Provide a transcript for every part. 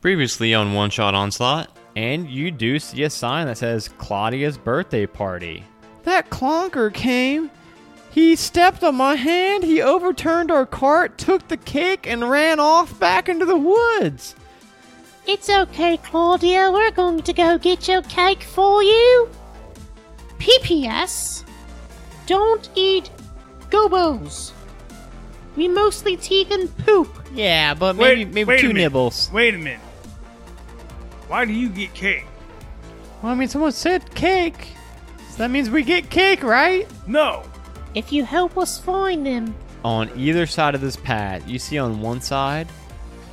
Previously on One Shot Onslaught, And you do see a sign that says Claudia's birthday party. That clonker came. He stepped on my hand, he overturned our cart, took the cake, and ran off back into the woods. It's okay, Claudia. We're going to go get your cake for you. PPS Don't eat gobos. We mostly teeth and poop. Yeah, but Wait- maybe maybe wait a two minute. nibbles. Wait a minute. Why do you get cake? Well, I mean, someone said cake. So that means we get cake, right? No. If you help us find them, On either side of this path, you see on one side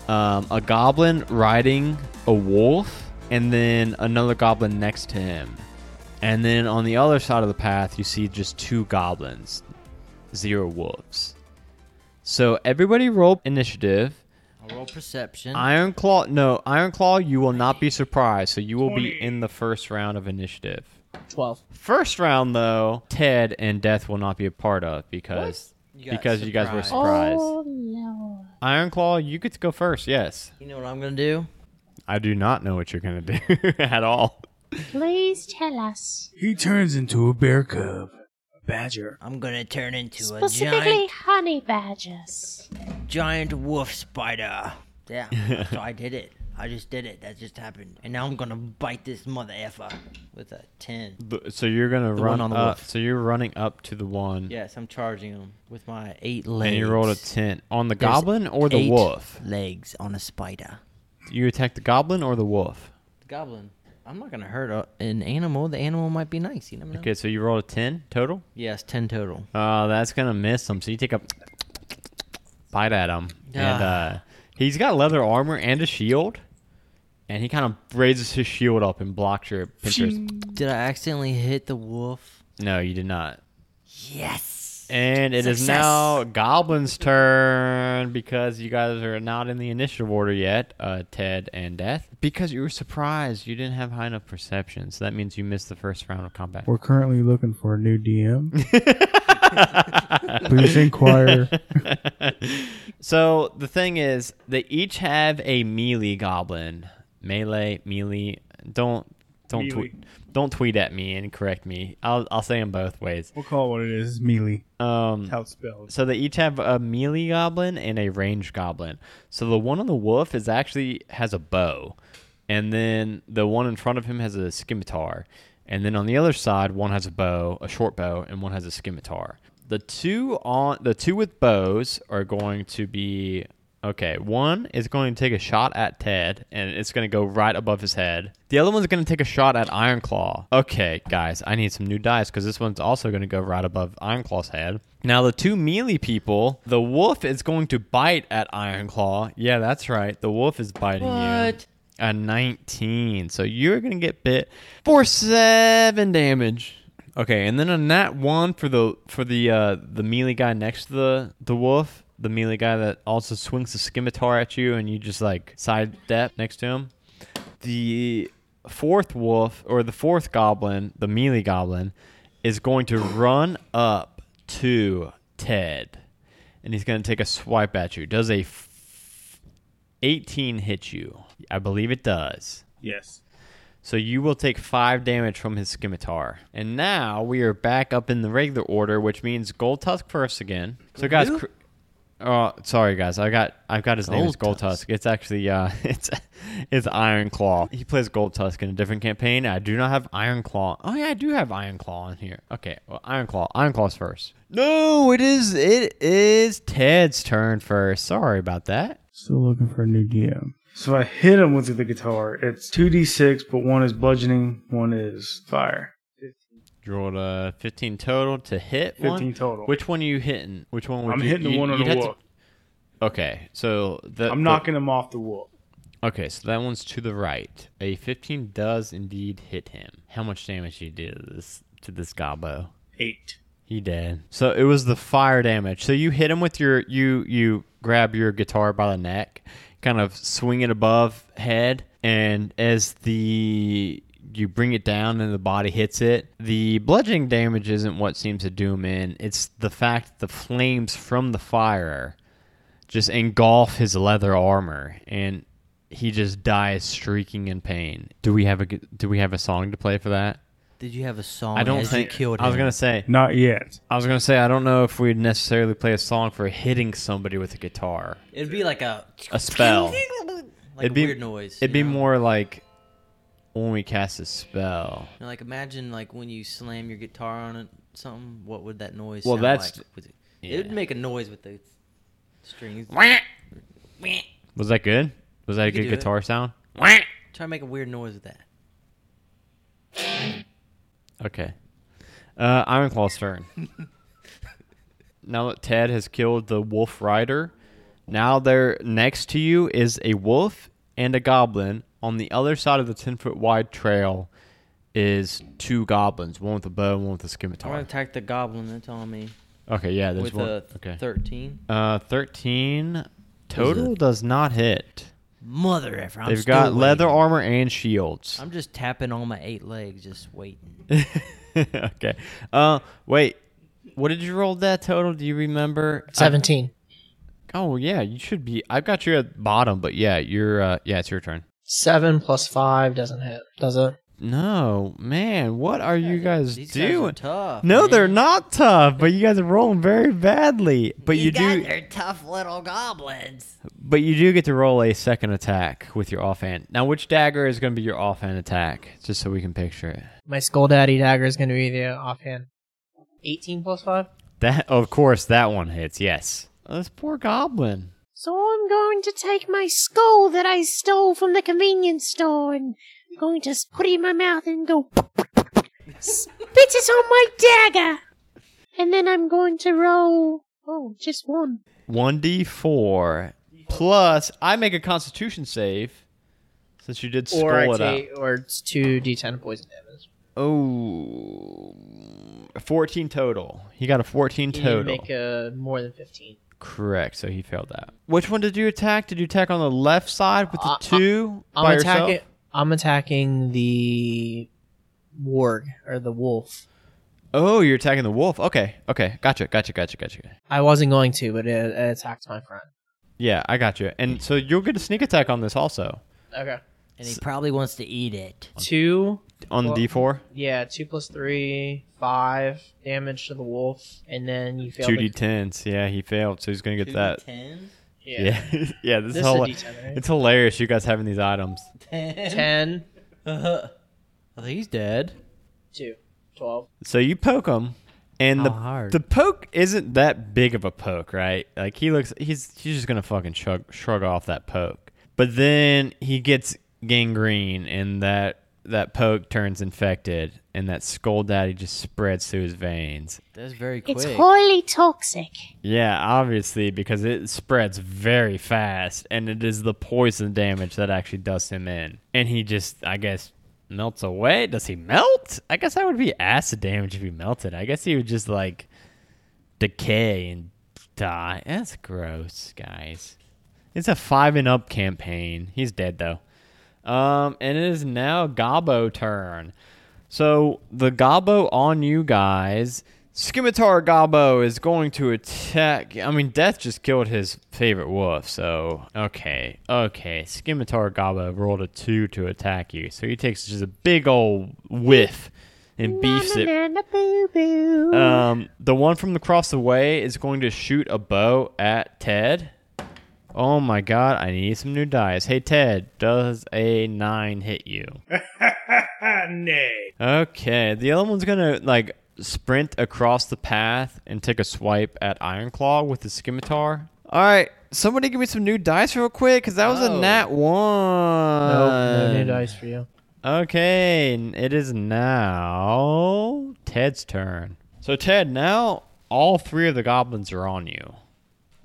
um, a goblin riding a wolf, and then another goblin next to him. And then on the other side of the path, you see just two goblins, zero wolves. So everybody roll initiative. I'll roll perception. Iron Claw, no, Iron Claw, you will not be surprised. So you will be Twenty. in the first round of initiative. 12. First round though, Ted and Death will not be a part of because You got because you guys were surprised. surprised. oh no. Iron Claw, you get to go first. Yes, You know what I'm going to do? I do not know what you're gonna do at all. Please tell us. He turns into a bear cub, a badger. I'm going to turn into a Specifically, giant, honey badgers. giant wolf spider. Yeah, so I did it. I just did it. That just happened. And now I'm going to bite this mother effer with a 10. Th- So you're gonna The run one on the up. wolf. So you're running up to the one, Yes, I'm charging him with my eight legs. and you rolled a ten on the There's goblin or the eight wolf. Legs on a spider. You attack the goblin or the wolf. The goblin. I'm not gonna hurt a, an animal. The animal might be nice. You never know. Okay, so you rolled a ten total. Yes, ten total. Uh, that's gonna miss him. So you take a bite at him, and uh, he's got leather armor and a shield, and he kind of raises his shield up and blocks your pincers. Did I accidentally hit the wolf? no, you did not. Yes. And it is now Goblin's turn because you guys are not in the initiative order yet, uh, Ted and Death. Because you were surprised, you didn't have high enough perception, so that means you missed the first round of combat. We're currently looking for a new DM. Please inquire. So the thing is, they each have a melee goblin, melee, melee. Don't don't Melee. tweet don't tweet at me and correct me. I'll I'll say them both ways. We'll call it what it is. It's melee. Um, How it's spelled. so they each have a melee goblin and a range goblin. So the one on the wolf is actually has a bow, and then the one in front of him has a scimitar, and then on the other side one has a bow, a short bow, and one has a scimitar. The two on the two with bows are going to be okay. One is going to take a shot at Ted, and it's going to go right above his head. The other one's going to take a shot at Ironclaw. Okay, guys, I need some new dice because this one's also going to go right above Ironclaw's head. Now, the two melee people, the wolf is going to bite at Ironclaw. Yeah, that's right. The wolf is biting What? you. A 19. So you're going to get bit for 7 damage. Okay, and then on that one for the for the uh the melee guy next to the the wolf, the melee guy that also swings the scimitar at you and you just like side step next to him the fourth wolf or the fourth goblin, the melee goblin, is going to run up to Ted, and he's going to take a swipe at you. Does a f- 18 hit you? I believe it does. Yes. So you will take five damage from his scimitar. And now we are back up in the regular order, which means Gold Tusk first again. So guys, Who? cr- oh sorry guys, I got I've got his name is Gold Gold Tusk. It's actually uh it's it's Iron Claw. He plays Gold Tusk in a different campaign. I do not have Iron Claw. Oh yeah, I do have Iron Claw in here. Okay, well Iron Claw. Iron Claw's first. No, it is it is Ted's turn first. Sorry about that. Still looking for a new DM. So I hit him with the guitar. It's 2d6, but one is bludgeoning, one is fire. You rolled a 15 uh, total to hit 15 one. total. Which one are you hitting? Which one would I'm you hitting the you- one on you'd the have to- wolf. Okay, so the, I'm knocking him off the wolf. the- okay, so that one's to the right. A 15 does indeed hit him. How much damage you did to this to this gobbo? Eight. He did. So it was the fire damage. So you hit him with your you you grab your guitar by the neck, kind of swing it above head, and as the you bring it down and the body hits it, the bludgeoning damage isn't what seems to do him in. It's the fact the flames from the fire just engulf his leather armor and he just dies shrieking in pain. Do we have a g- do we have a song to play for that? Did you have a song? I don't as think you Oh, killed him? I was gonna say Not yet. I was gonna say I don't know if we'd necessarily play a song for hitting somebody with a guitar, It'd be like a a spell. like it'd a be weird noise. It'd you be know? more like when we cast a spell. You know, like imagine like when you slam your guitar on it, something. What would that noise? Well, sound that's- like? Would it, yeah. would make a noise with the strings. Was that good? Was that a could good do it. guitar sound? Try to make a weird noise with that. Okay. Uh, Iron Claw's turn. now that Ted has killed the wolf rider, now there next to you is a wolf and a goblin. On the other side of the ten foot wide trail is two goblins, one with a bow, and one with a I'm gonna scimitar. attack the goblin. That's on me. Okay, yeah, there's With one. a okay, thirteen. uh, thirteen total does not hit. Mother effer. I'm They've still got leather waiting. armor and shields. I'm just tapping on my eight legs, just waiting. okay. Uh, wait. What did you roll that total? Do you remember? I- 17. Oh yeah, you should be. I've got you at bottom, but yeah, you're. Uh, yeah, it's your turn. 7 plus 5 doesn't hit, does it? No, man, what are you guys These guys are doing? tough. no, man. they're not tough, but you guys are rolling very badly. But you, do, They're tough little goblins. but you do get to roll a second attack with your offhand. Now, which dagger is going to be your offhand attack? Just so we can picture it. My Skull Daddy dagger is going to be the offhand. 18 plus 5? That, of course, that one hits. Yes. This poor goblin. So I'm going to take my skull that I stole from the convenience store and I'm going to s- put it in my mouth and go spit it on my dagger. And then I'm going to roll oh, just one. 1d4 plus I make a constitution save since you did Or, I scroll it up. take- or it's 2d10 poison damage. Oh, 14 total. He got a 14 You need to total. make a more than 15. Correct, so he failed that. Which one did you attack? Did you attack on the left side with the Uh, uh, 2 I'm by attacking. yourself? I'm attacking the warg or the wolf. Oh, you're attacking the wolf. Okay, okay. Gotcha, gotcha, gotcha, gotcha. I wasn't going to, but it, it attacked my friend. Yeah, I got you. And so you'll get a sneak attack on this also. Okay. And he probably wants to eat it. Two. On Well- the d4? Yeah, two plus three, five damage to the wolf, and then you fail. the- 2d10s. Yeah, he failed, so he's going to get that. Yeah. Ten. Yeah, yeah. This, This is is a hila- D10, right? It's hilarious. You guys having these items. Ten, I think Oh, he's dead. two, twelve. So you poke him, and the How hard? the poke isn't that big of a poke, right? Like he looks, he's he's just gonna fucking shrug shrug off that poke. But then he gets gangrene, and that that poke turns infected, and that skull daddy just spreads through his veins. That's very quick. It's highly toxic. Yeah, obviously because it spreads very fast, and it is the poison damage that actually does him in, and he just, I guess, melts away. Does he melt? I guess that would be acid damage if he melted. I guess he would just like decay and die. That's gross, guys. It's a five and up campaign. He's dead though. Um, and it is now Gobbo turn. So the Gobbo on you guys. Scimitar Gobbo is going to attack. I mean, Death just killed his favorite wolf, so okay, okay. Scimitar Gobbo rolled a two to attack you, so he takes just a big old whiff and beefs it Na, na, boo, boo. um, the one from across the way is going to shoot a bow at Ted. Oh my god, I need some new dice. Hey Ted, does a nine hit you? Nay. Okay, the other one's gonna like sprint across the path and take a swipe at Ironclaw with the scimitar. All right, somebody give me some new dice real quick, cause that was a nat one. Oh. Nope, no new dice for you. Okay, n- it is now Ted's turn. So Ted, now all three of the goblins are on you.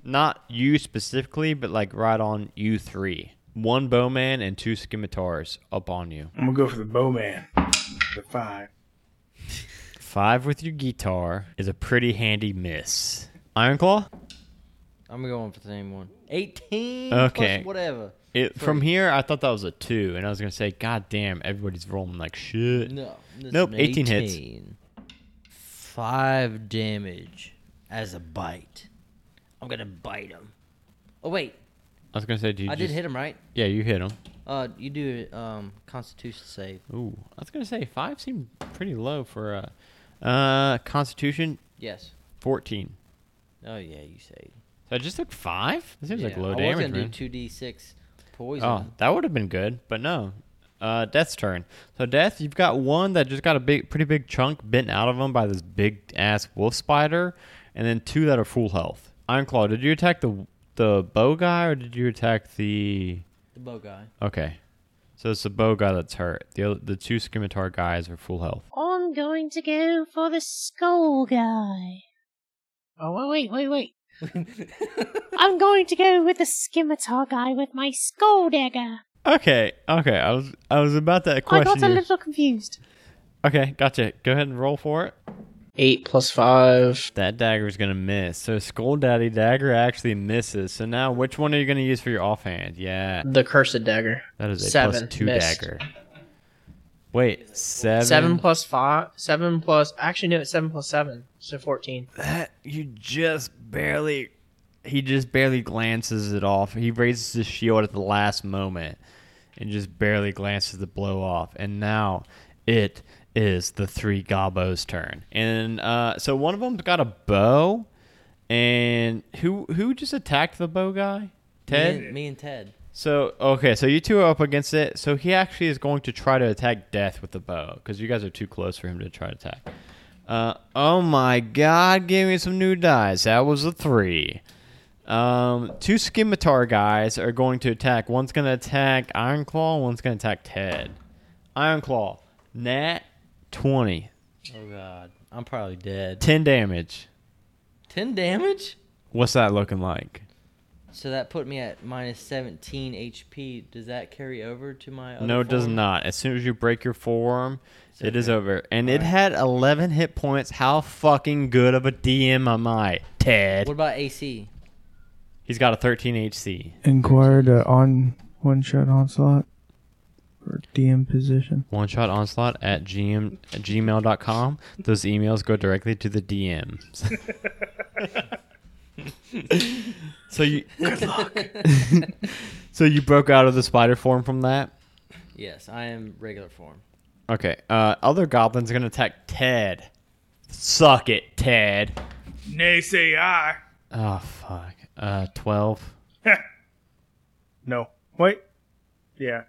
Not you specifically, but like right on you three. One bowman and two scimitars up on you. I'm gonna go for the bowman. The five. Five with your guitar is a pretty handy miss. Ironclaw? I'm going for the same one. 18 Okay. plus whatever. It, from here, I thought that was a two, and I was gonna say, God damn, everybody's rolling like shit. No. this Nope, is 18 hits. 18. Five damage as a bite. I'm going to bite him. Oh, wait. I was gonna say, do you I just, did hit him right. Yeah, you hit him. Uh, you do um Constitution save. Ooh, I was gonna say five seemed pretty low for uh, uh Constitution Yes. fourteen. Oh yeah, you save. So I just took five. That seems like Yeah, low I was damage, gonna man. do two d six poison. Oh, that would have been good, but no. Uh, Death's turn. So Death, you've got one that just got a big, pretty big chunk bent out of them by this big ass wolf spider, and then two that are full health. Ironclaw, did you attack the the bow guy or did you attack the? The bow guy. Okay, so it's the bow guy that's hurt. The other, the two scimitar guys are full health. I'm going to go for the skull guy. Oh, wait, wait, wait. I'm going to go with the scimitar guy with my skull dagger. Okay, okay. I was I was about to I got question a you. little confused. okay, gotcha. Go ahead and roll for it. Eight plus five. That dagger's gonna miss. So Skull Daddy dagger actually misses. So now, which one are you gonna use for your offhand? Yeah, The cursed dagger. that is a Seven, plus two missed. dagger. Wait, seven. Seven plus five. Seven plus. Actually, no, it's seven plus seven. So 14. That you just barely. He just barely glances it off. He raises his shield at the last moment, and just barely glances the blow off. And now, it is the three gobos' turn. And uh, so one of them's got a bow. And who who just attacked the bow guy? Ted. Me and, me and Ted. So okay, so you two are up against it. So he actually is going to try to attack Death with the bow because you guys are too close for him to try to attack. Uh, oh my God! Give me some new dice. That was a three. Um, two scimitar guys are going to attack. One's going to attack Ironclaw. One's going to attack Ted. Ironclaw, nat twenty, Oh god, I'm probably dead. ten damage. Ten damage. What's that looking like? So that put me at minus 17 HP. Does that carry over to my other No, it does form? not. As soon as you break your forearm, it is over. And it had 11 hit points. How fucking good of a DM am I, Ted? What about AC? He's got a 13 HC. Inquired uh, on one shot onslaught for DM position. One shot onslaught at gm at gmail.com. Those emails go directly to the DM. so you good luck. so you broke out of the spider form from that. Yes, I am regular form. Okay. Uh, other goblins are gonna attack Ted. Suck it, Ted. Nay, say I. Oh fuck. Uh, twelve. No. Wait. Yeah.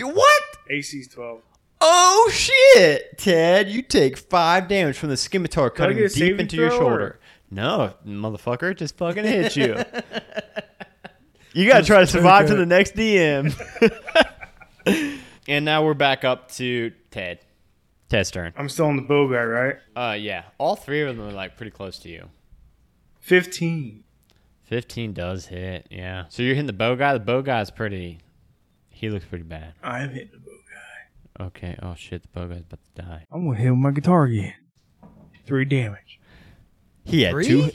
What? AC's 12. Oh shit, Ted! You take five damage from the scimitar cutting get a deep saving into your throw, shoulder. No, motherfucker, it just fucking hit you. you gotta try to survive to the next DM. and now we're back up to Ted. Ted's turn. I'm still on the bow guy, right? Uh, yeah, all three of them are like pretty close to you. 15. Fifteen does hit, yeah. So you're hitting the bow guy. The bow guy's pretty. He looks pretty bad. I'm hitting the bow guy. Okay. Oh shit, the bow guy's about to die. I'm going to hit with my guitar again. Three damage. He had Three? two.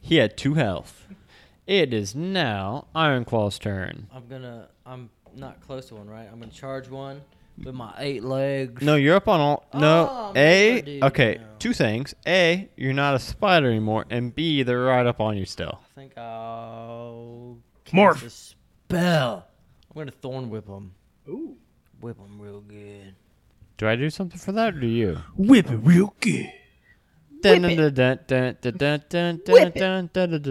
He had two health. It is now Ironclaw's turn. I'm gonna. I'm not close to one, right? I'm gonna charge one with my eight legs. No, you're up on all. No, Oh, I'm a up, dude, okay. now. Two things: a, you're not a spider anymore, and b, they're right up on you still. I think I'll cast Morph. a spell. I'm gonna thorn whip him. Ooh. Whip him real good. Do I do something for that, or do you? Whip it real good. Dun dun dun dun dun dun dun dun dun dun dun dun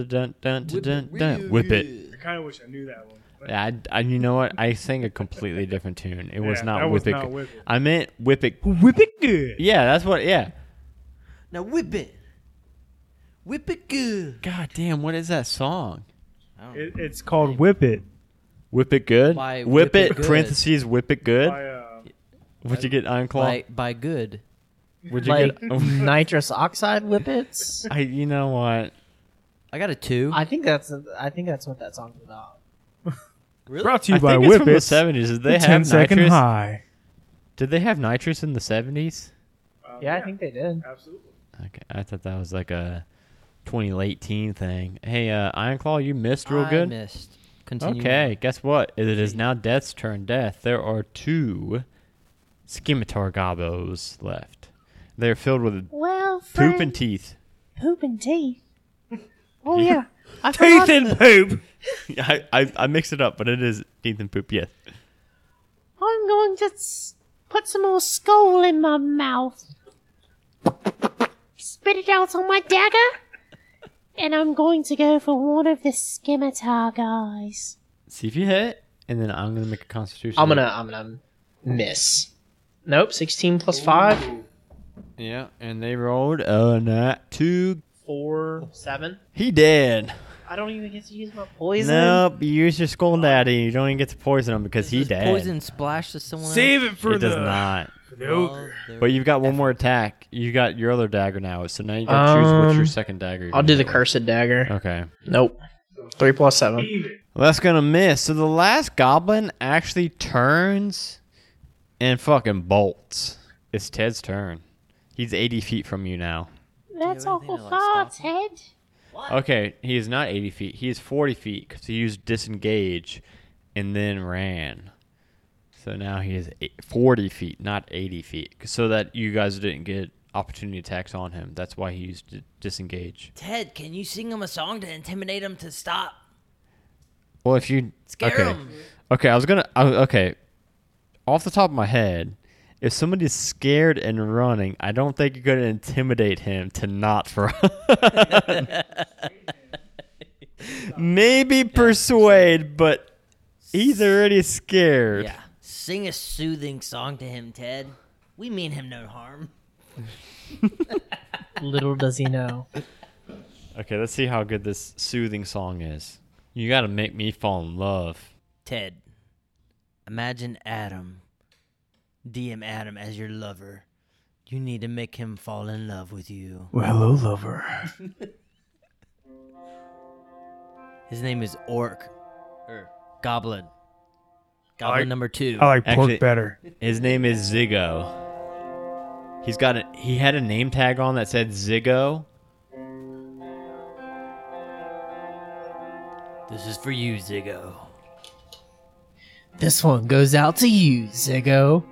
dun dun dun dun. Whip it. I kind of wish I knew that one. But I, I, you know what? I sang a completely different tune. It was Yeah, not that was whip it. not Whip It. I meant whip it. Whip it good. Yeah, that's what. Yeah. Now whip it. Whip it good. God damn, what is that song? I don't It, it's called Whip It. Whip it good. By whip, whip it, it good. parentheses whip it good. By, uh, Would you get Iron Claw? By by good. Would you Like get? nitrous oxide whippets. I, you know what? I got a two. I think that's I think that's what that song's about. brought to you I by think it's Whip from the It. seventies. Did they the 10 have second nitrous? high. Did they have nitrous in the seventies? Yeah, I think they did. Absolutely. Okay, I thought that was like a 2018 thing. Hey, uh, Iron Claw, you missed real I good. Missed. Continue. Okay, guess what? It is now Death's turn. Death. There are two scimitar gobos left. They're filled with Well, poop friend, and teeth. poop and tea. Oh yeah, I Teeth forgot, and poop. I, I, I mixed it up, but it is teeth and poop, yes. I'm going to s- put some more skull in my mouth. Spit it out on my dagger. And I'm going to go for one of the scimitar guys. See if you hit, and then I'm gonna make a constitution. I'm gonna, I'm gonna miss. Nope, 16 plus 5, Yeah, and they rolled a nat two. 4, 7. He dead. I don't even get to use my poison. Nope, you use your skull daddy. You don't even get to poison him because he Does dead. Poison splash to someone Save it for it the. does not. No. else. Nope. But you've got one more attack. You got your other dagger now, so now you gotta choose what's your Um, second dagger. you're I'll do the gonna cursed dagger. roll. Okay. Nope. 3 plus 7. Well, that's gonna miss. So the last goblin actually turns and fucking bolts. It's Ted's turn. He's 80 feet from you now. That's have anything awful to, like, far, stop Ted. Okay, he is not 80 feet. He is 40 feet because he used disengage and then ran. So now he is eight- 40 feet, not 80 feet. So that you guys didn't get opportunity attacks on him. That's why he used di- disengage. Ted, can you sing him a song to intimidate him to stop? Well, if you Scare okay. him. Okay, I was gonna. I, okay, off the top of my head, if somebody's scared and running, I don't think you're gonna intimidate him to not run. Maybe persuade, but he's already scared. Yeah. Sing a soothing song to him, Ted. We mean him no harm. Little does he know. Okay, let's see how good this soothing song is. You gotta make me fall in love. Ted, imagine Adam, DM Adam as your lover. You need to make him fall in love with you. Well, hello, lover. His name is Orc, or Goblin. Goblin Er. I- number two. I like pork Actually- better. His name is Ziggo. He's got a he had a name tag on that said Ziggo. This is for you, Ziggo. This one goes out to you, Ziggo.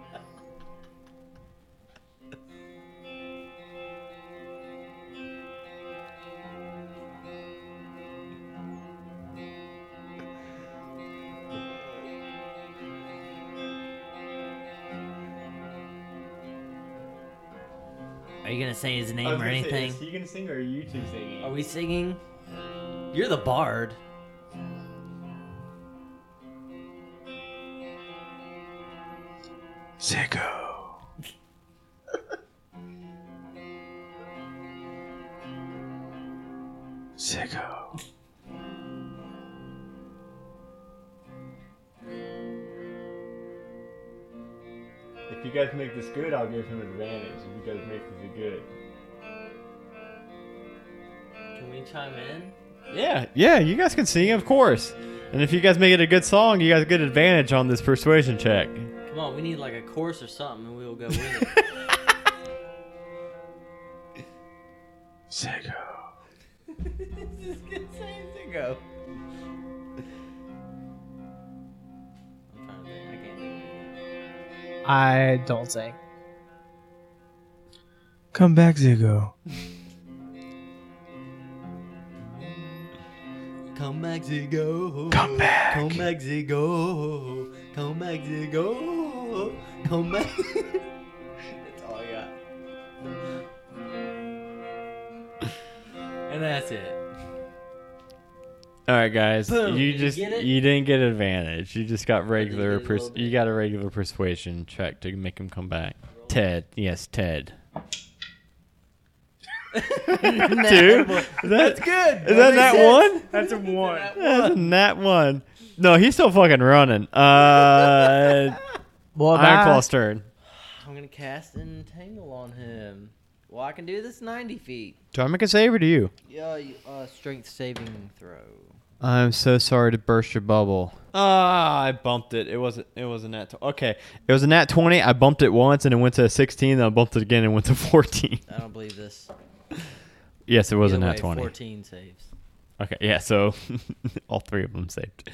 Are you gonna say his name or anything? he gonna sing or are you two singing? Are we singing? You're the bard. Sicko. Sicko. If you guys make this good, I'll give him advantage. If you guys make this good. Can we chime in? Yeah, yeah, you guys can sing, of course. And if you guys make it a good song, you guys get advantage on this persuasion check. Come on, we need like a chorus or something, and we will go with it. Sicko. Ziggo. I'm trying to think. I can't think. I don't sing. Come back, Ziggo. Come back, Ziggo. Come back. Come back, Ziggo. Come back, Ziggo. Come back. that's all I got. and that's it. All right, guys, Boom, you did you just get it? you didn't get advantage. You just got regular get a little pers- bit. you got a regular persuasion check to make him come back. Ted, yes, Ted. Dude, that's good. Is that that one? That's a one. That's a nat one. No, he's still fucking running. Uh, Well, Ironclaw's turn. I'm gonna cast entangle on him. Well, I can do this 90 feet. Do I make a save or do you? Yeah, you- uh, strength saving throw. I'm so sorry to burst your bubble. Ah, I bumped it. It wasn't. It was a nat. Tw- okay, it was a nat twenty. I bumped it once and it went to a sixteen. Then I bumped it again and went to fourteen. I don't believe this. Yes, it was a Either nat way, twenty. 14 saves. Okay, yeah. So all three of them saved.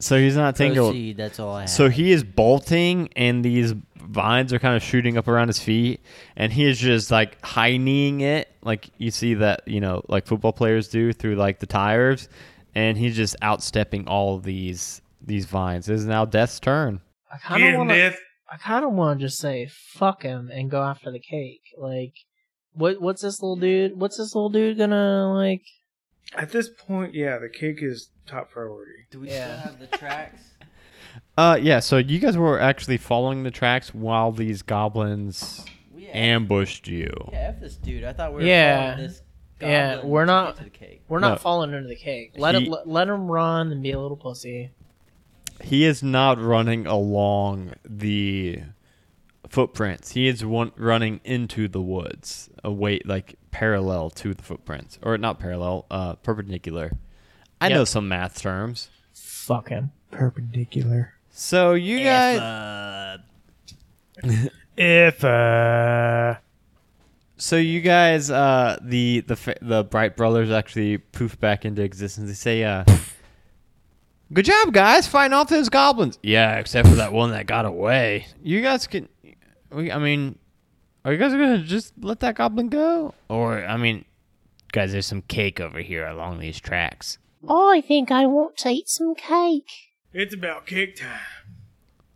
So he's not tangled. Proceed, that's all I have. So he is bolting, and these vines are kind of shooting up around his feet, and he is just like high kneeing it, like you see that you know, like football players do through like the tires, and he's just outstepping all of these these vines. It is now Death's turn. I Get kind of him, want to. Death. I kind of want to just say fuck him and go after the cake. Like, what? What's this little dude? What's this little dude gonna like? At this point, yeah, the cake is top priority. Do we Yeah. still have the tracks? Uh, yeah. So you guys were actually following the tracks while these goblins We ambushed you. yeah, F this dude. I thought we were Yeah. following this Yeah, goblin we're to not- get to the cake. We're No. not falling under the cake. Let He- him. Let, let him run and be a little pussy. He is not running along the footprints. He is one, running into the woods, away like parallel to the footprints, or not parallel, uh, perpendicular. I know some math terms. Fuck him. Perpendicular. So you uh, guys, If uh, so you guys, uh, the the fa- the Bright brothers actually poof back into existence. They say, uh, "Good job, guys, fighting off those goblins." Yeah, except for that one that got away. You guys can, we, I mean, are you guys gonna just let that goblin go? Or I mean, Guys, there's some cake over here along these tracks. I think I want to eat some cake. It's about cake time.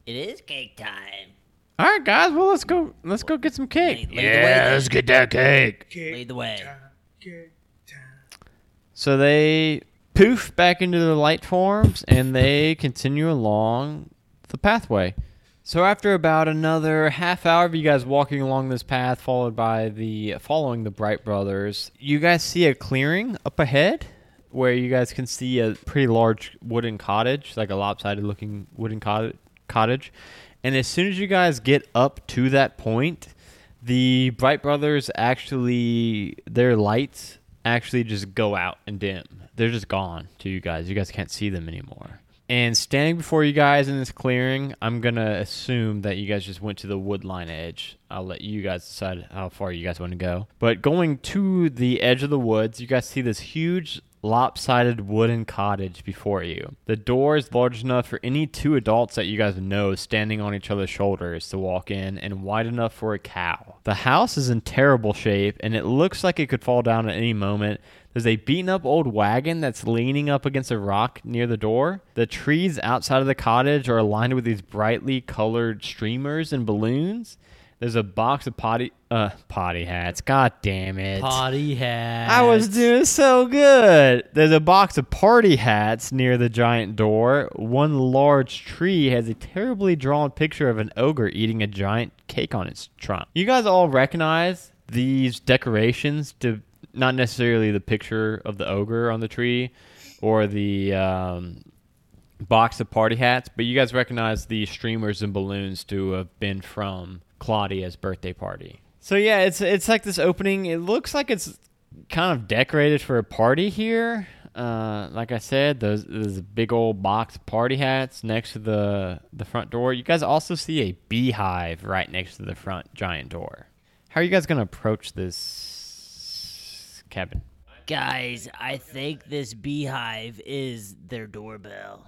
It is cake time. all right, guys, well let's go, let's go get some cake. Lead the way, then. get that cake. Cake Lead the way. time. Cake time. So they poof back into their light forms and they continue along the pathway. So after about another half hour of you guys walking along this path, followed by the following the Bright Brothers, you guys see a clearing up ahead where you guys can see a pretty large wooden cottage, like a lopsided looking wooden cottage cottage. And as soon as you guys get up to that point, the Bright Brothers actually, their lights actually just go out and dim. They're just gone to you guys. You guys can't see them anymore. And standing before you guys in this clearing, I'm going to assume that you guys just went to the wood line edge. I'll let you guys decide how far you guys want to go. But going to the edge of the woods, you guys see this huge lopsided wooden cottage before you. The door is large enough for any two adults that you guys know standing on each other's shoulders to walk in and wide enough for a cow. The house is in terrible shape and it looks like it could fall down at any moment. There's a beaten up old wagon that's leaning up against a rock near the door. The trees outside of the cottage are aligned with these brightly colored streamers and balloons. There's a box of potty uh potty hats. God damn it. Potty hat. I was doing so good. There's a box of party hats near the giant door. One large tree has a terribly drawn picture of an ogre eating a giant cake on its trunk. You guys all recognize these decorations to not necessarily the picture of the ogre on the tree or the um, box of party hats, but you guys recognize the streamers and balloons to have been from Claudia's birthday party. So yeah, it's it's like this opening. It looks like it's kind of decorated for a party here. Uh, like I said, those, those big old box party hats next to the the front door. You guys also see a beehive right next to the front giant door. How are you guys gonna approach this cabin? Guys, I think this beehive is their doorbell.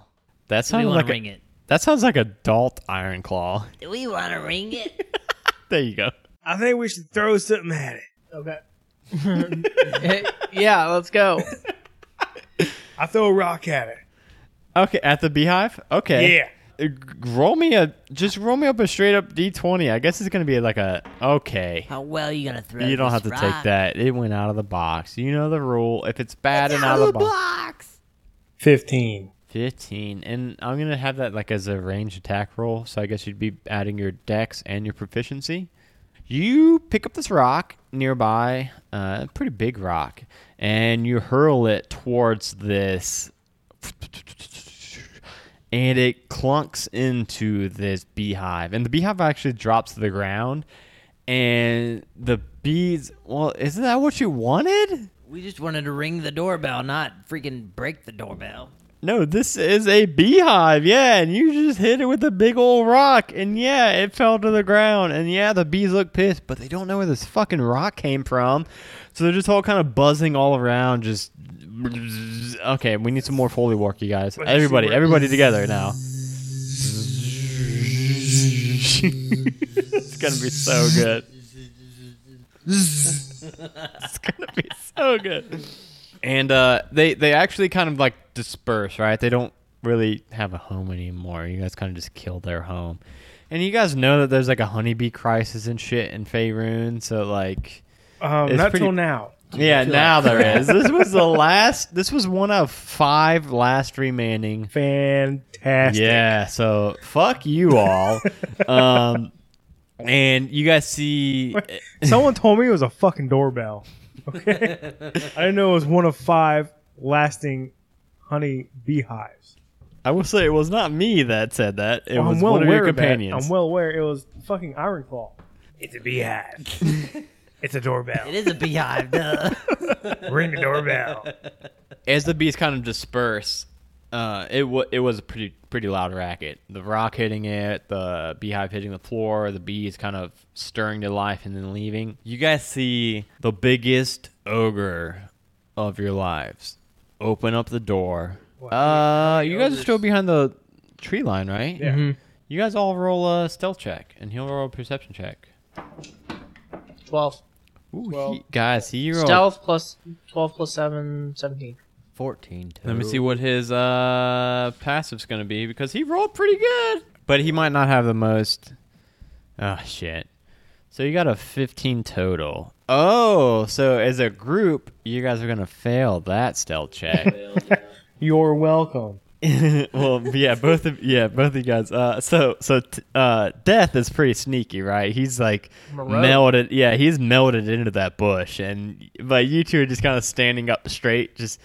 That Do we sounds want like to ring it? that sounds like adult Iron Claw. Do we want to ring it? There you go. I think we should throw something at it. Okay. yeah, let's go. I throw a rock at it. Okay, at the beehive. Okay. Yeah. Uh, g- Roll me a just roll me up a straight up D twenty. I guess it's gonna be like a okay. How well you gonna throw? You don't have to this take rock? that. It went out of the box. You know the rule. If it's bad and out of the box. fifteen. Fifteen, and I'm gonna have that like as a range attack roll. So I guess you'd be adding your dex and your proficiency. You pick up this rock nearby, uh, a pretty big rock, and you hurl it towards this, and it clunks into this beehive, and the beehive actually drops to the ground, and the bees. Well, isn't that what you wanted? We just wanted to ring the doorbell, not freaking break the doorbell. No, this is a beehive. Yeah, and you just hit it with a big old rock, and yeah, it fell to the ground. And yeah, the bees look pissed, but they don't know where this fucking rock came from, so they're just all kind of buzzing all around. Just okay, we need some more foley work, you guys. Everybody, everybody together now. it's gonna be so good. it's gonna be so good. And uh, they they actually kind of like disperse, right? They don't really have a home anymore. You guys kind of just kill their home. And you guys know that there's like a honeybee crisis and shit in Faerun, so like Um, It's not pretty- till now. yeah, now there is. This was the last. This was one of five last remaining. Fantastic. Yeah, so fuck you all. um, and you guys see, Someone told me it was a fucking doorbell. Okay. I didn't know it was one of five lasting honey beehives. I will say it was not me that said that. It Well, was I'm well one of aware your of that. companions. I'm well aware it was fucking Iron Claw. It's a beehive. it's a doorbell. It is a beehive, duh. Ring the doorbell. As the bees kind of disperse, uh, it wa it was a pretty pretty loud racket. The rock hitting it, the beehive hitting the floor, the bees kind of stirring to life and then leaving. You guys see the biggest ogre of your lives open up the door. Uh, you guys are still behind the tree line, right? Yeah. You guys all roll a stealth check, and he'll roll a perception check. Twelve. Ooh, Twelve. he- guys, he rolled Stealth plus twelve plus seven, seventeen. 14 total. Let me see what his uh, passive's going to be because he rolled pretty good. But he might not have the most. Oh, shit. So you got a 15 total. Oh, so as a group, you guys are going to fail that stealth check. You're welcome. well, yeah, both of yeah, both of you guys. Uh, so so t- uh, death is pretty sneaky, right? He's like Morose. melted. Yeah, he's melted into that bush, and but you two are just kind of standing up straight. Just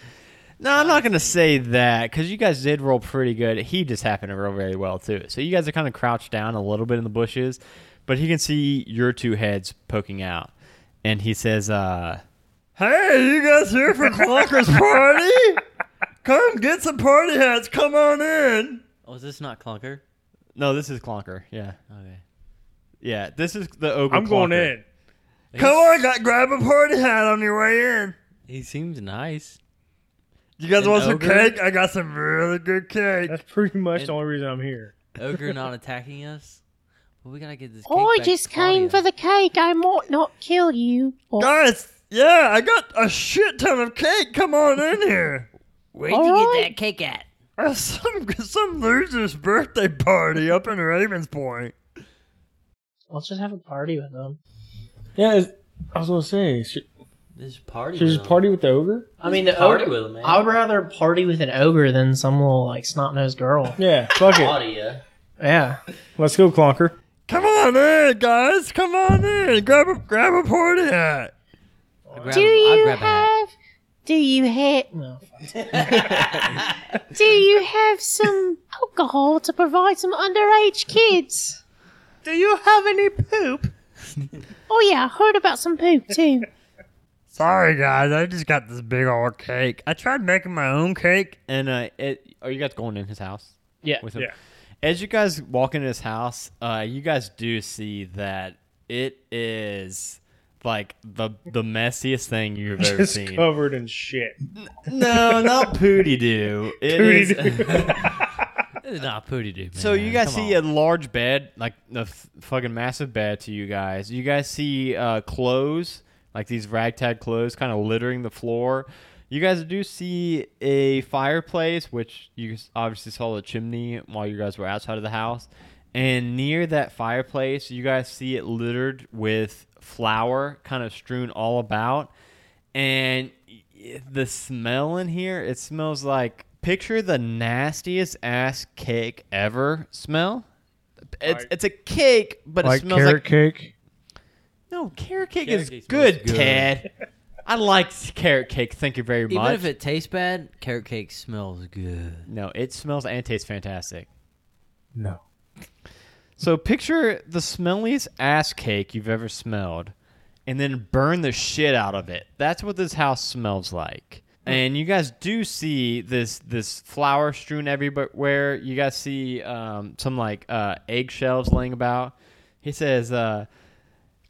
no, I'm not gonna say that because you guys did roll pretty good. He just happened to roll very well too. So you guys are kind of crouched down a little bit in the bushes, but he can see your two heads poking out, and he says, uh, "Hey, you guys here for Clonker's party?" Come get some party hats. Come on in. Oh, is this not Clunker? No, this is Clonker. Yeah, Okay. yeah. This is the ogre. I'm going Clonker. in. Come on, got, grab a party hat on your way in. He seems nice. You guys An want some ogre? cake? I got some really good cake. That's pretty much the only reason I'm here. Ogre not attacking us. Well, we gotta get this. Oh, cake I back just to came Claudia. for the cake. I might not kill you. Oh. Or, Guys, yeah, I got a shit ton of cake. Come on in here. Where'd All you right. get that cake at? There's Some some loser's birthday party up in Ravens Point. Let's just have a party with them. Yeah, it's- I was gonna say, should, This party. should we just party with the ogre? I mean, the party ogre, with them, man. I would rather party with an ogre than some little like snot nosed girl. Yeah, fuck it. Claudia. Yeah. Let's go, Clonker. Come on in, guys. Come on in. Grab a grab a party hat. I grab, do I you grab a hat. have? Do you have? No. Do you have some alcohol to provide some underage kids? Do you have any poop? Oh yeah, I heard about some poop too. Sorry, guys. I just got this big old cake. I tried making my own cake, and uh, it, are you guys going in his house? Yeah. with him. Yeah. As you guys walk into his house, uh, you guys do see that it is like the the messiest thing you've ever Just seen. covered in shit. no, not pooty doo. It is. This is not pooty dude. So you guys see a large bed, like a f- fucking massive bed to you guys. You guys see uh, clothes, like these ragtag clothes, kind of littering the floor. You guys do see a fireplace, which you s- obviously saw the chimney while you guys were outside of the house. And near that fireplace, you guys see it littered with flour, kind of strewn all about and y- the smell in here it smells like picture the nastiest ass cake ever smell it's, it's a cake but it smells like cake. no carrot cake Carrot is cake smells good, good. ted i like carrot cake thank you very Even much if it tastes bad, carrot cake smells good. no it smells and tastes fantastic No. So picture the smelliest ass cake you've ever smelled, and then burn the shit out of it. That's what this house smells like. And you guys do see this this flour strewn everywhere. You guys see um, some like uh, eggshells laying about. He says, uh,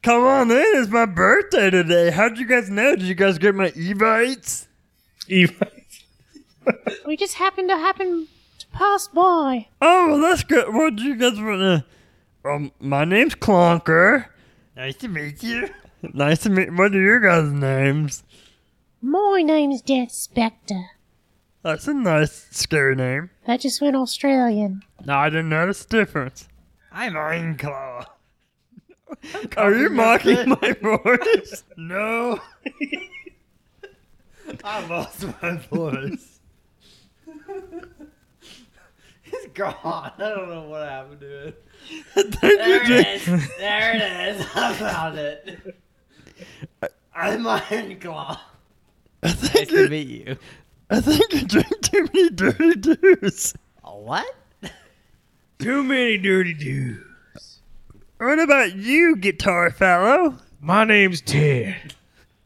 "Come on in, it's my birthday today. How'd you guys know? Did you guys get my evites?" We just happened to happen to pass by. Oh, well, that's good. What do you guys want to? Um, my name's Clonker. Nice to meet you. Nice to meet. What are your guys' names? My name's Death Spectre. That's a nice, scary name. That just went Australian. No, I didn't notice the difference. I'm Ironclaw. Are you mocking my voice? no. I lost my voice. It's gone. I don't know what happened to it. There it is. There it is. I found it. I'm Iron Claw. nice to meet you. I think you drink too many dirty dews. What? Too many dirty dudes. What about you, guitar fellow? My name's Ted.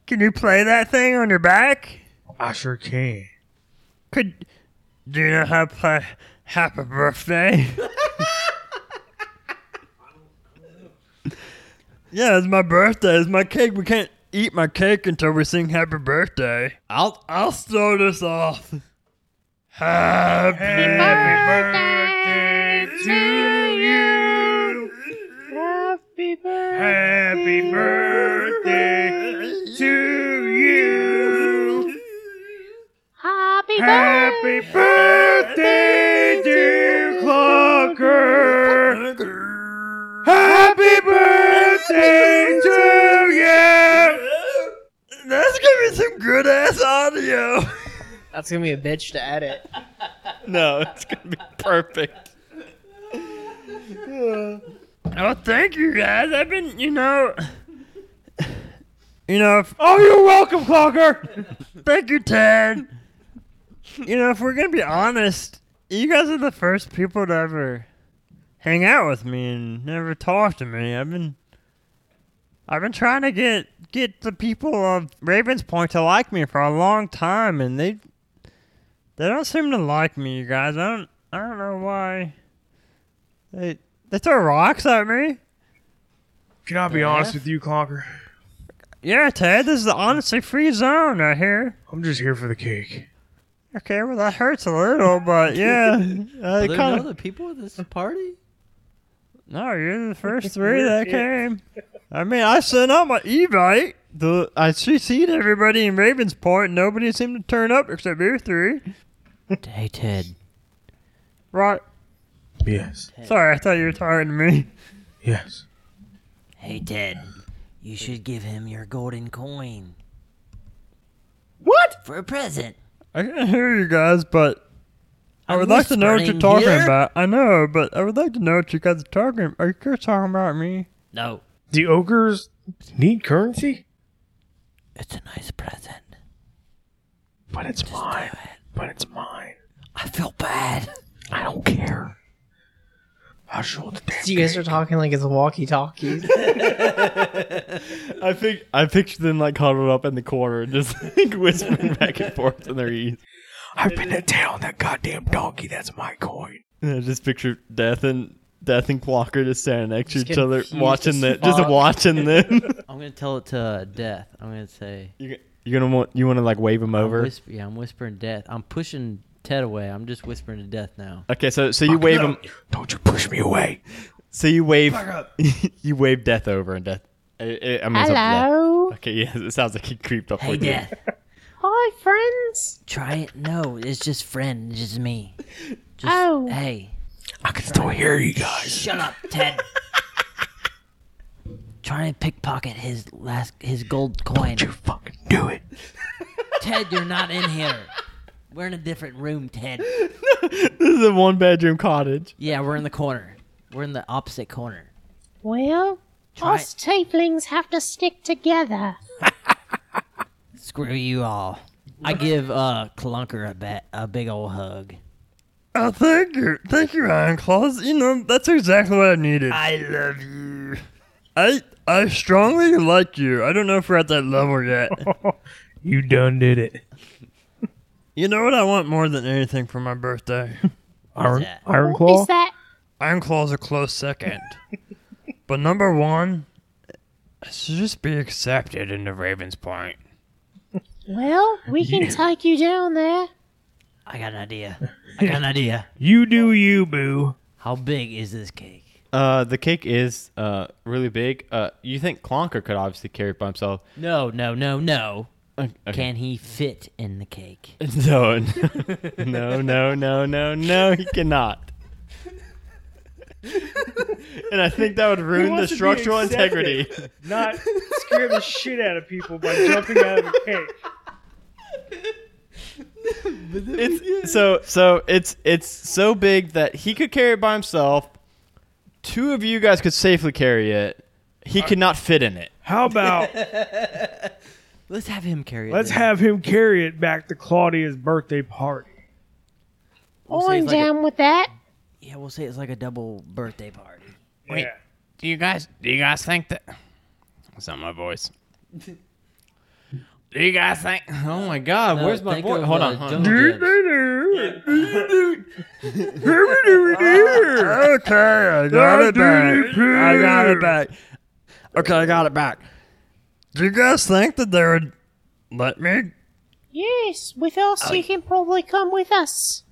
Can you play that thing on your back? I sure can. Could do you know how to play Happy Birthday? yeah, it's my birthday. It's my cake. We can't eat my cake until we sing Happy Birthday. I'll I'll start us off. Happy, birthday to you. Happy birthday to you. Happy Happy birthday, dear Clocker. Happy birthday to you. That's gonna be some good ass audio. That's gonna be a bitch to edit. No, it's gonna be perfect. Oh, thank you guys. I've been, you know, you know. If, Oh, you're welcome, Clocker. Thank you, Ted. You know, if we're gonna be honest, you guys are the first people to ever hang out with me and never talk to me. I've been, I've been trying to get get the people of Ravens Point to like me for a long time, and they they don't seem to like me. You guys, I don't, I don't know why. They they throw rocks at me. Can I be honest with you, Clocker? Yeah, Ted, this is the honestly free zone right here. I'm just here for the cake. Okay, well that hurts a little, but yeah, uh, Are it there kind no of. other people at this party? No, you're the first three that came. I mean, I sent out my e-bite. The I CC'd everybody in Ravens Point. Nobody seemed to turn up except you three. Hey, Ted. Right? Yes. Sorry, I thought you were talking to me. Yes. Hey, Ted. You should give him your golden coin. What? For a present. I can hear you guys, but I I'm would like to know what you're whispering talking here. about. I know, but I would like to know what you guys are talking. Are you guys talking about me? No, Do ogres need currency? it's a nice present. But it's mine. But it's mine. I feel bad. I don't care. I sure the damn. So you guys are talking like it's walkie-talkies. I think I picture them like huddled up in the corner and just like whispering back and forth in their ears. I've been to town on that goddamn donkey. That's my coin. And I just picture death and death and Clocker just standing next to Just each other, confused watching as them, just fuck. watching them. I'm gonna tell it to uh, Death. I'm gonna say. you, you're gonna want you want to like wave them I'm over. whisper- yeah, I'm whispering Death. I'm pushing Ted away. I'm just whispering to Death now. Okay, so so you wave them. Don't you push me away. So you wave you wave death over and death. I, I- I mean, it's up to Death. Hello. Okay, yeah, it sounds like he creeped up Hey, with you. Death. Hi, friends. Try it. No, it's just friend. It's just me. Just, Oh. Hey, I can still hear you guys. shut up, Ted. Try and pickpocket his last his gold coin. fucking do it. Ted, you're not in here. We're in a different room, Ted. This is a one bedroom cottage. Yeah, we're in the corner. We're in the opposite corner. Well, Try us tieflings have to stick together. Screw you all. I give uh Clunker a bet, a big old hug. Oh, thank you, thank you, Iron Claws. You know that's exactly what I needed. I love you. I I strongly like you. I don't know if we're at that level yet. You done did it. you know what I want more than anything for my birthday? Iron, that? Iron What Claw? is that? Iron Claw's a close second. but number one I should just be accepted into Raven's Point. Well, we can take you down there. I got an idea. I got an idea. You do you, boo. How big is this cake? Uh, the cake is uh really big. Uh, you think Clonker could obviously carry it by himself? No, no, no, no. okay. Can he fit in the cake? No, no, no, no, no, no. He cannot. and I think that would ruin the wants to be structural accepted, integrity. Not scare the shit out of people by jumping out of a cake. It's so so. It's it's so big that he could carry it by himself. Two of you guys could safely carry it. He could not fit in it. How about Let's have him carry it. let's then. have him carry it back to Claudia's birthday party? We'll say I'm it's like a- down with that. yeah, we'll say it's like a double birthday party. Wait, do you guys do you guys think that? It's not my voice. Do you guys think? Oh my God, No, where's my think voice? of, Hold uh, on, hold on. Don't Judge. okay, I got it back. I got it back. Okay, I got it back. Do you guys think that they would let me? Yes, with us, you can probably come with us.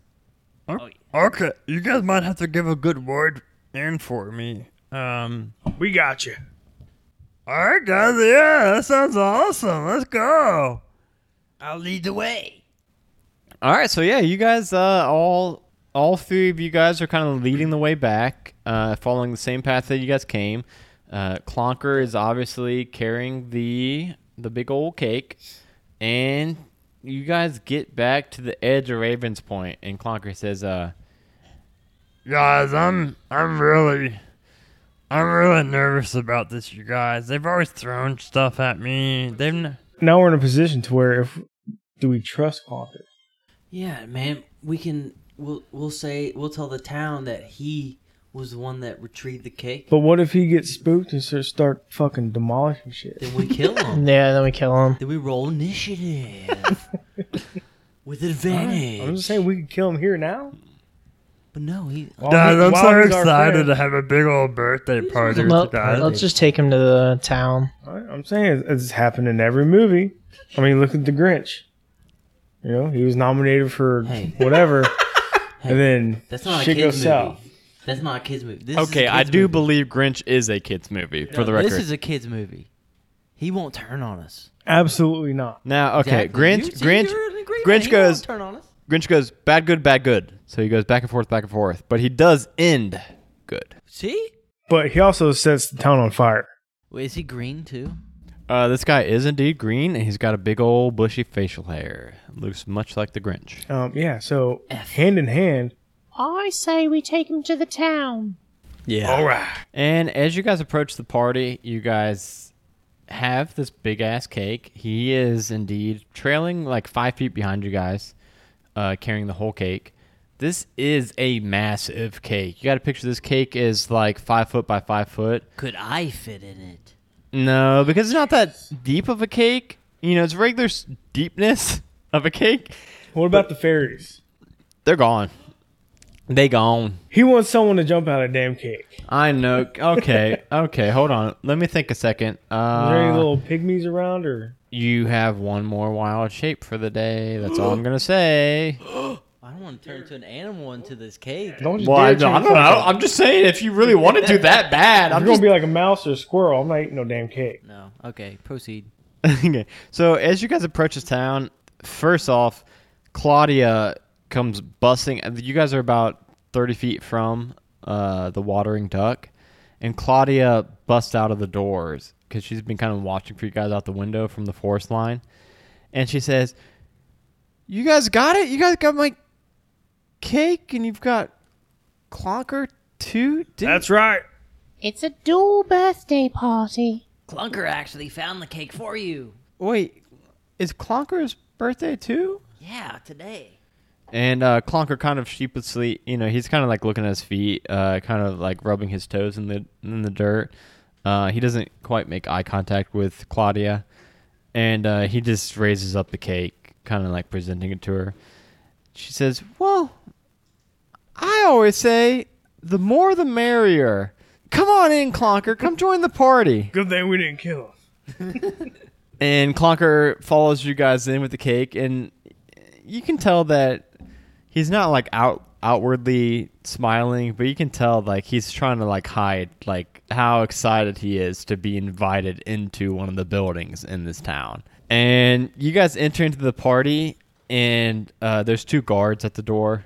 Okay, you guys might have to give a good word in for me. Um, We got you. all right, guys. Yeah, that sounds awesome. Let's go. I'll lead the way. All right, so yeah, you guys, uh, all all three of you guys are kind of leading the way back, uh, following the same path that you guys came. Uh, Clonker is obviously carrying the the big old cake, and you guys get back to the edge of Raven's Point, and Clonker says, uh, Guys, I'm I'm really I'm really nervous about this. You guys, they've always thrown stuff at me. They've. N- Now we're in a position to where if do we trust Clonker? Yeah, man. We can. We'll we'll say we'll tell the town that he was the one that retrieved the cake. But what if he gets spooked and starts start fucking demolishing shit? Then we kill him. Yeah, then we kill him. then we roll initiative with advantage. I'm just saying we could kill him here now. But no, he. Guys, I'm so he's our excited friend. to have a big old birthday party with Well, you guys. let's just take him to the town. All right, I'm saying it's, it's happened in every movie. I mean, look at The Grinch. You know, he was nominated for Hey. whatever, and then That's not a shit kids goes movie. south. That's not a kids movie. This "Okay, is a I kids do movie. believe Grinch is a kids movie." for the No, record, This is a kids movie. He won't turn on us. Absolutely not. Now, okay, Exactly. Grinch, You- see, Grinch, you're in agreement. Grinch He goes. won't turn on us. Grinch goes bad, good, bad, good. So he goes back and forth, back and forth, but he does end good. See, But he also sets the town on fire. Wait, is he green too? Uh, this guy is indeed green, and he's got a big old bushy facial hair. Looks much like the Grinch. Um, yeah. So hand in hand, I say we take him to the town. Yeah. All right. And as you guys approach the party, you guys have this big ass cake. He is indeed trailing like five feet behind you guys, uh, carrying the whole cake. This is a massive cake. You got to picture this cake is like five foot by five foot. Could I fit in it? No, because it's not that deep of a cake. You know, it's regular s- deepness of a cake. what about the fairies? They're gone. They gone. He wants someone to jump out of damn cake. I know. Okay. okay. Hold on. Let me think a second. Is there any Uh, little pygmies around, or you have one more wild shape for the day. That's all I'm gonna say. I don't want to turn into an animal into this cake. don't you Well, dare I, I turn don't know. yourself out. I'm just saying, if you really want to do that bad, If I'm you're just gonna be like a mouse or a squirrel. I'm not eating no damn cake. No. Okay, proceed. okay. So as you guys approach this town, first off, Claudia comes busting. uh, You guys are about thirty feet from uh, the watering duck, and Claudia busts out of the doors because she's been kind of watching for you guys out the window from the forest line, and she says, "You guys got it. You guys got my cake, and you've got Clonker too. Didn't- That's right. It's a dual birthday party. Clunker actually found the cake for you. Wait, is Clonker's birthday too?" Yeah, today. And uh, Clonker kind of sheepishly, you know, he's kind of like looking at his feet, uh, kind of like rubbing his toes in the in the dirt. Uh, he doesn't quite make eye contact with Claudia, and uh, he just raises up the cake, kind of like presenting it to her. She says, "Well, I always say the more the merrier. Come on in, Clonker. Come join the party." Good thing we didn't kill him. And Clonker follows you guys in with the cake, and you can tell that he's not like out outwardly smiling, but you can tell like he's trying to like hide like how excited he is to be invited into one of the buildings in this town. And you guys enter into the party, and uh, there's two guards at the door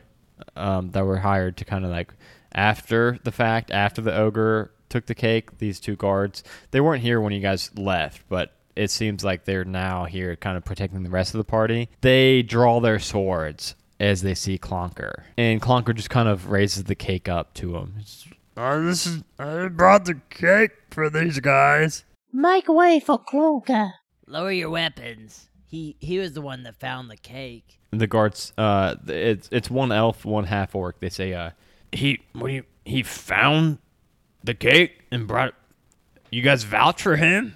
um, that were hired to kind of like after the fact, after the ogre took the cake. These two guards, they weren't here when you guys left, but it seems like they're now here, kind of protecting the rest of the party. They draw their swords as they see Clonker, and Clonker just kind of raises the cake up to him. It's- Uh, this is, I brought the cake for these guys. Make way for Clonker. Lower your weapons. He he was the one that found the cake. the guards, uh, it's it's one elf, one half orc. They say, uh, He what do you he found the cake and brought it. You guys vouch for him?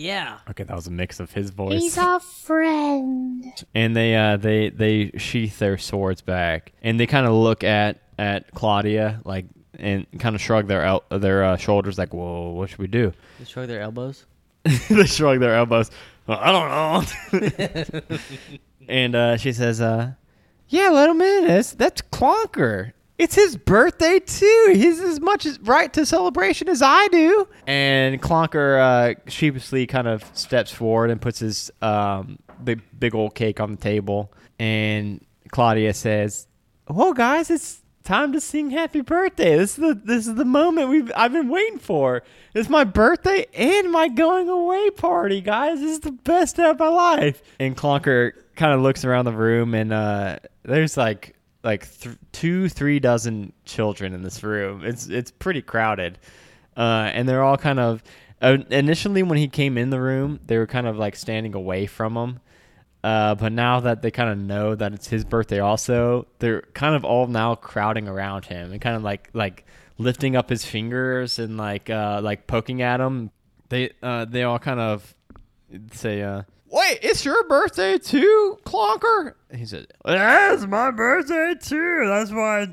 Yeah. okay, that was a mix of his voice. He's our friend. and they uh, they they sheath their swords back, and they kind of look at at Claudia like and kind of shrug their el- their uh, shoulders like, "Whoa, what should we do?" They shrug their elbows. they shrug their elbows. "Well, I don't know. and uh, she says, uh, Yeah, let him in. That's, that's Clonker. It's his birthday too. He's as much as right to celebration as I do. and Clonker uh, sheepishly kind of steps forward and puts his um, big big old cake on the table, and Claudia says, "Well, guys, it's time to sing happy birthday. This is the this is the moment we've I've been waiting for. It's my birthday and my going away party, guys. This is the best day of my life." And Clonker kind of looks around the room, and uh, there's like like th- two three dozen children in this room. It's it's pretty crowded, uh, and they're all kind of. Uh, initially, when he came in the room, they were kind of like standing away from him. Uh, but now that they kind of know that it's his birthday, also they're kind of all now crowding around him and kind of like like lifting up his fingers and like uh, like poking at him. They uh, they all kind of say, uh, Wait, it's your birthday too, Clonker? he said, Yeah, it's my birthday too. That's why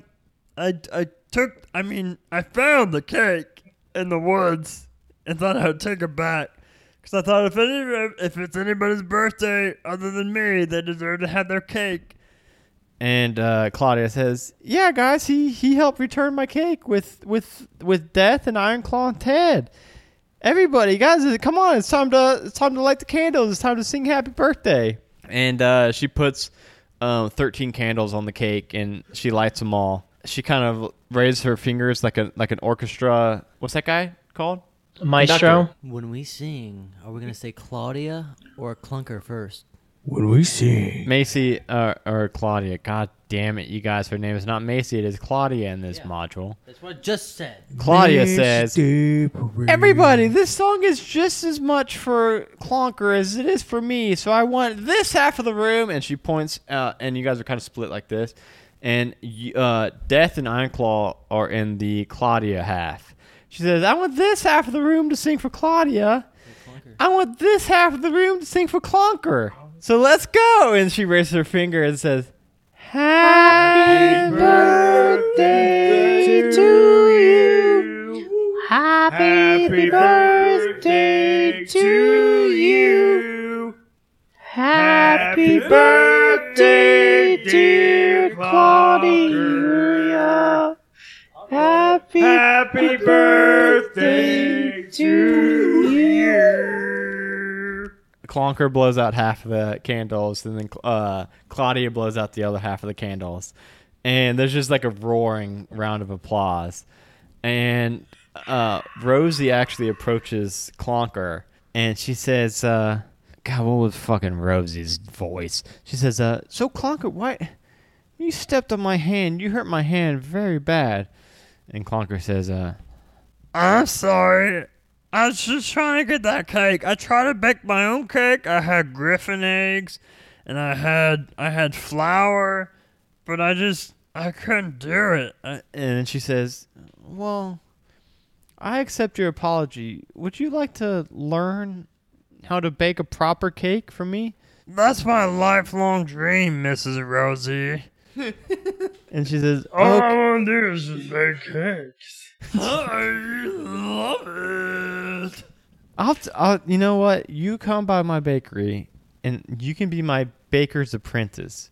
I, I, I took. I mean, I found the cake in the woods and thought I would take it back because I thought if any, if it's anybody's birthday other than me, they deserve to have their cake. and uh, Claudia says, Yeah, guys, he he helped return my cake with with with Death and Iron Claw and Ted. Everybody, guys, come on! It's time to it's time to light the candles. It's time to sing happy birthday. and uh, she puts um, 13 candles on the cake and she lights them all. She kind of raises her fingers like a like an orchestra. What's that guy called? Conductor. When we sing, are we gonna say Claudia or Clunker first? When we see Macy uh, or Claudia, god damn it, you guys, her name is not Macy, it is Claudia in this module. That's what I just said. Claudia Macy says, Everybody, this song is just as much for Clonker as it is for me. So I want this half of the room. and she points uh, out, and you guys are kind of split like this. And you- uh, Death and Ironclaw are in the Claudia half. She says, I want this half of the room to sing for Claudia. I want this half of the room to sing for Clonker. So let's go! And she raises her finger and says, Happy birthday to you. Happy, Happy birthday to you. Happy birthday, dear Claudia. Happy, Happy birthday to you. Clonker blows out half of the candles, and then uh, Claudia blows out the other half of the candles, and there's just like a roaring round of applause. And uh, Rosie actually approaches Clonker, and she says, uh, "God, what was fucking Rosie's voice?" She says, uh, So, Clonker, what? You stepped on my hand. You hurt my hand very bad. and Clonker says, uh, I'm sorry. I was just trying to get that cake. I tried to bake my own cake. I had griffin eggs and I had I had flour, but I just I couldn't do it. I, and then she says, "Well, I accept your apology. Would you like to learn how to bake a proper cake for me? That's my lifelong dream, Mrs. Rosie. and she says, All Oh. "Okay." I want to do is just bake cakes. I love it. I'll, t- I'll, you know what? You come by my bakery, and you can be my baker's apprentice.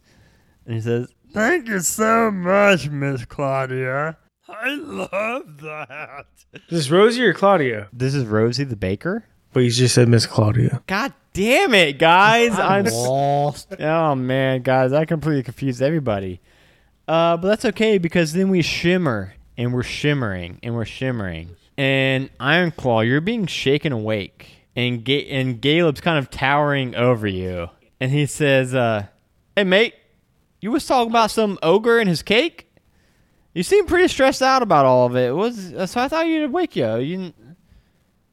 And he says, Thank you so much, Miss Claudia. I love that. Is this Rosie or Claudia? This is Rosie the baker. But you just said Miss Claudia. God damn it, guys! I'm, I'm s- Oh man, guys, I completely confused everybody. Uh, but that's okay because then we shimmer and we're shimmering and we're shimmering. And Iron Claw, you're being shaken awake, and Ga- and Galeb's kind of towering over you, and he says, uh, "Hey mate, you was talking about some ogre and his cake. You seem pretty stressed out about all of it. Was so I thought you'd wake you. You, didn't-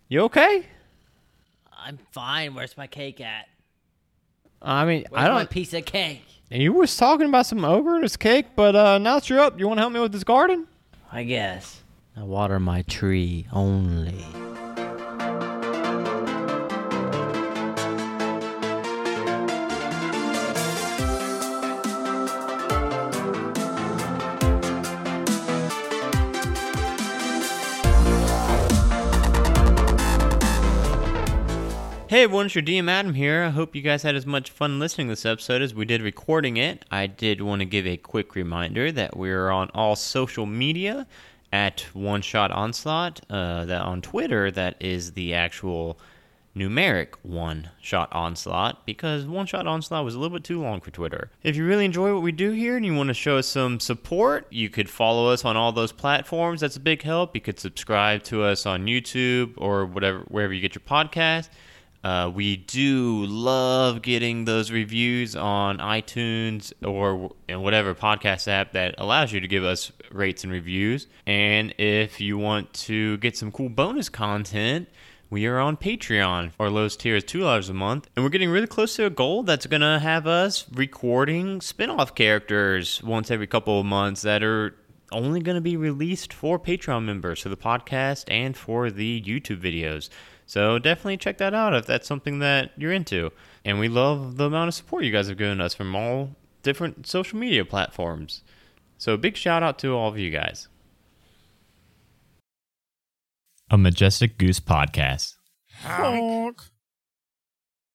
you okay? I'm fine. Where's my cake at? I mean, Where's I my don't. piece of cake? And you was talking about some ogre and his cake, but uh, now that you're up, you want to help me with this garden? I guess. I water my tree only. Hey everyone, it's your DM Adam here. I hope you guys had as much fun listening to this episode as we did recording it. I did want to give a quick reminder that we're on all social media at One Shot Onslaught. Uh, that on Twitter, that is the actual numeric One Shot Onslaught because One Shot Onslaught was a little bit too long for Twitter. If you really enjoy what we do here and you want to show us some support, you could follow us on all those platforms. That's a big help. You could subscribe to us on YouTube or whatever wherever you get your podcast. Uh, we do love getting those reviews on iTunes or in whatever podcast app that allows you to give us rates and reviews. And if you want to get some cool bonus content, we are on Patreon. Our lowest tier is $2 a month. And we're getting really close to a goal that's going to have us recording spin off characters once every couple of months that are only going to be released for Patreon members for the podcast and for the YouTube videos. So definitely check that out if that's something that you're into. And we love the amount of support you guys have given us from all different social media platforms. So big shout out to all of you guys. A Majestic Goose Podcast. Honk.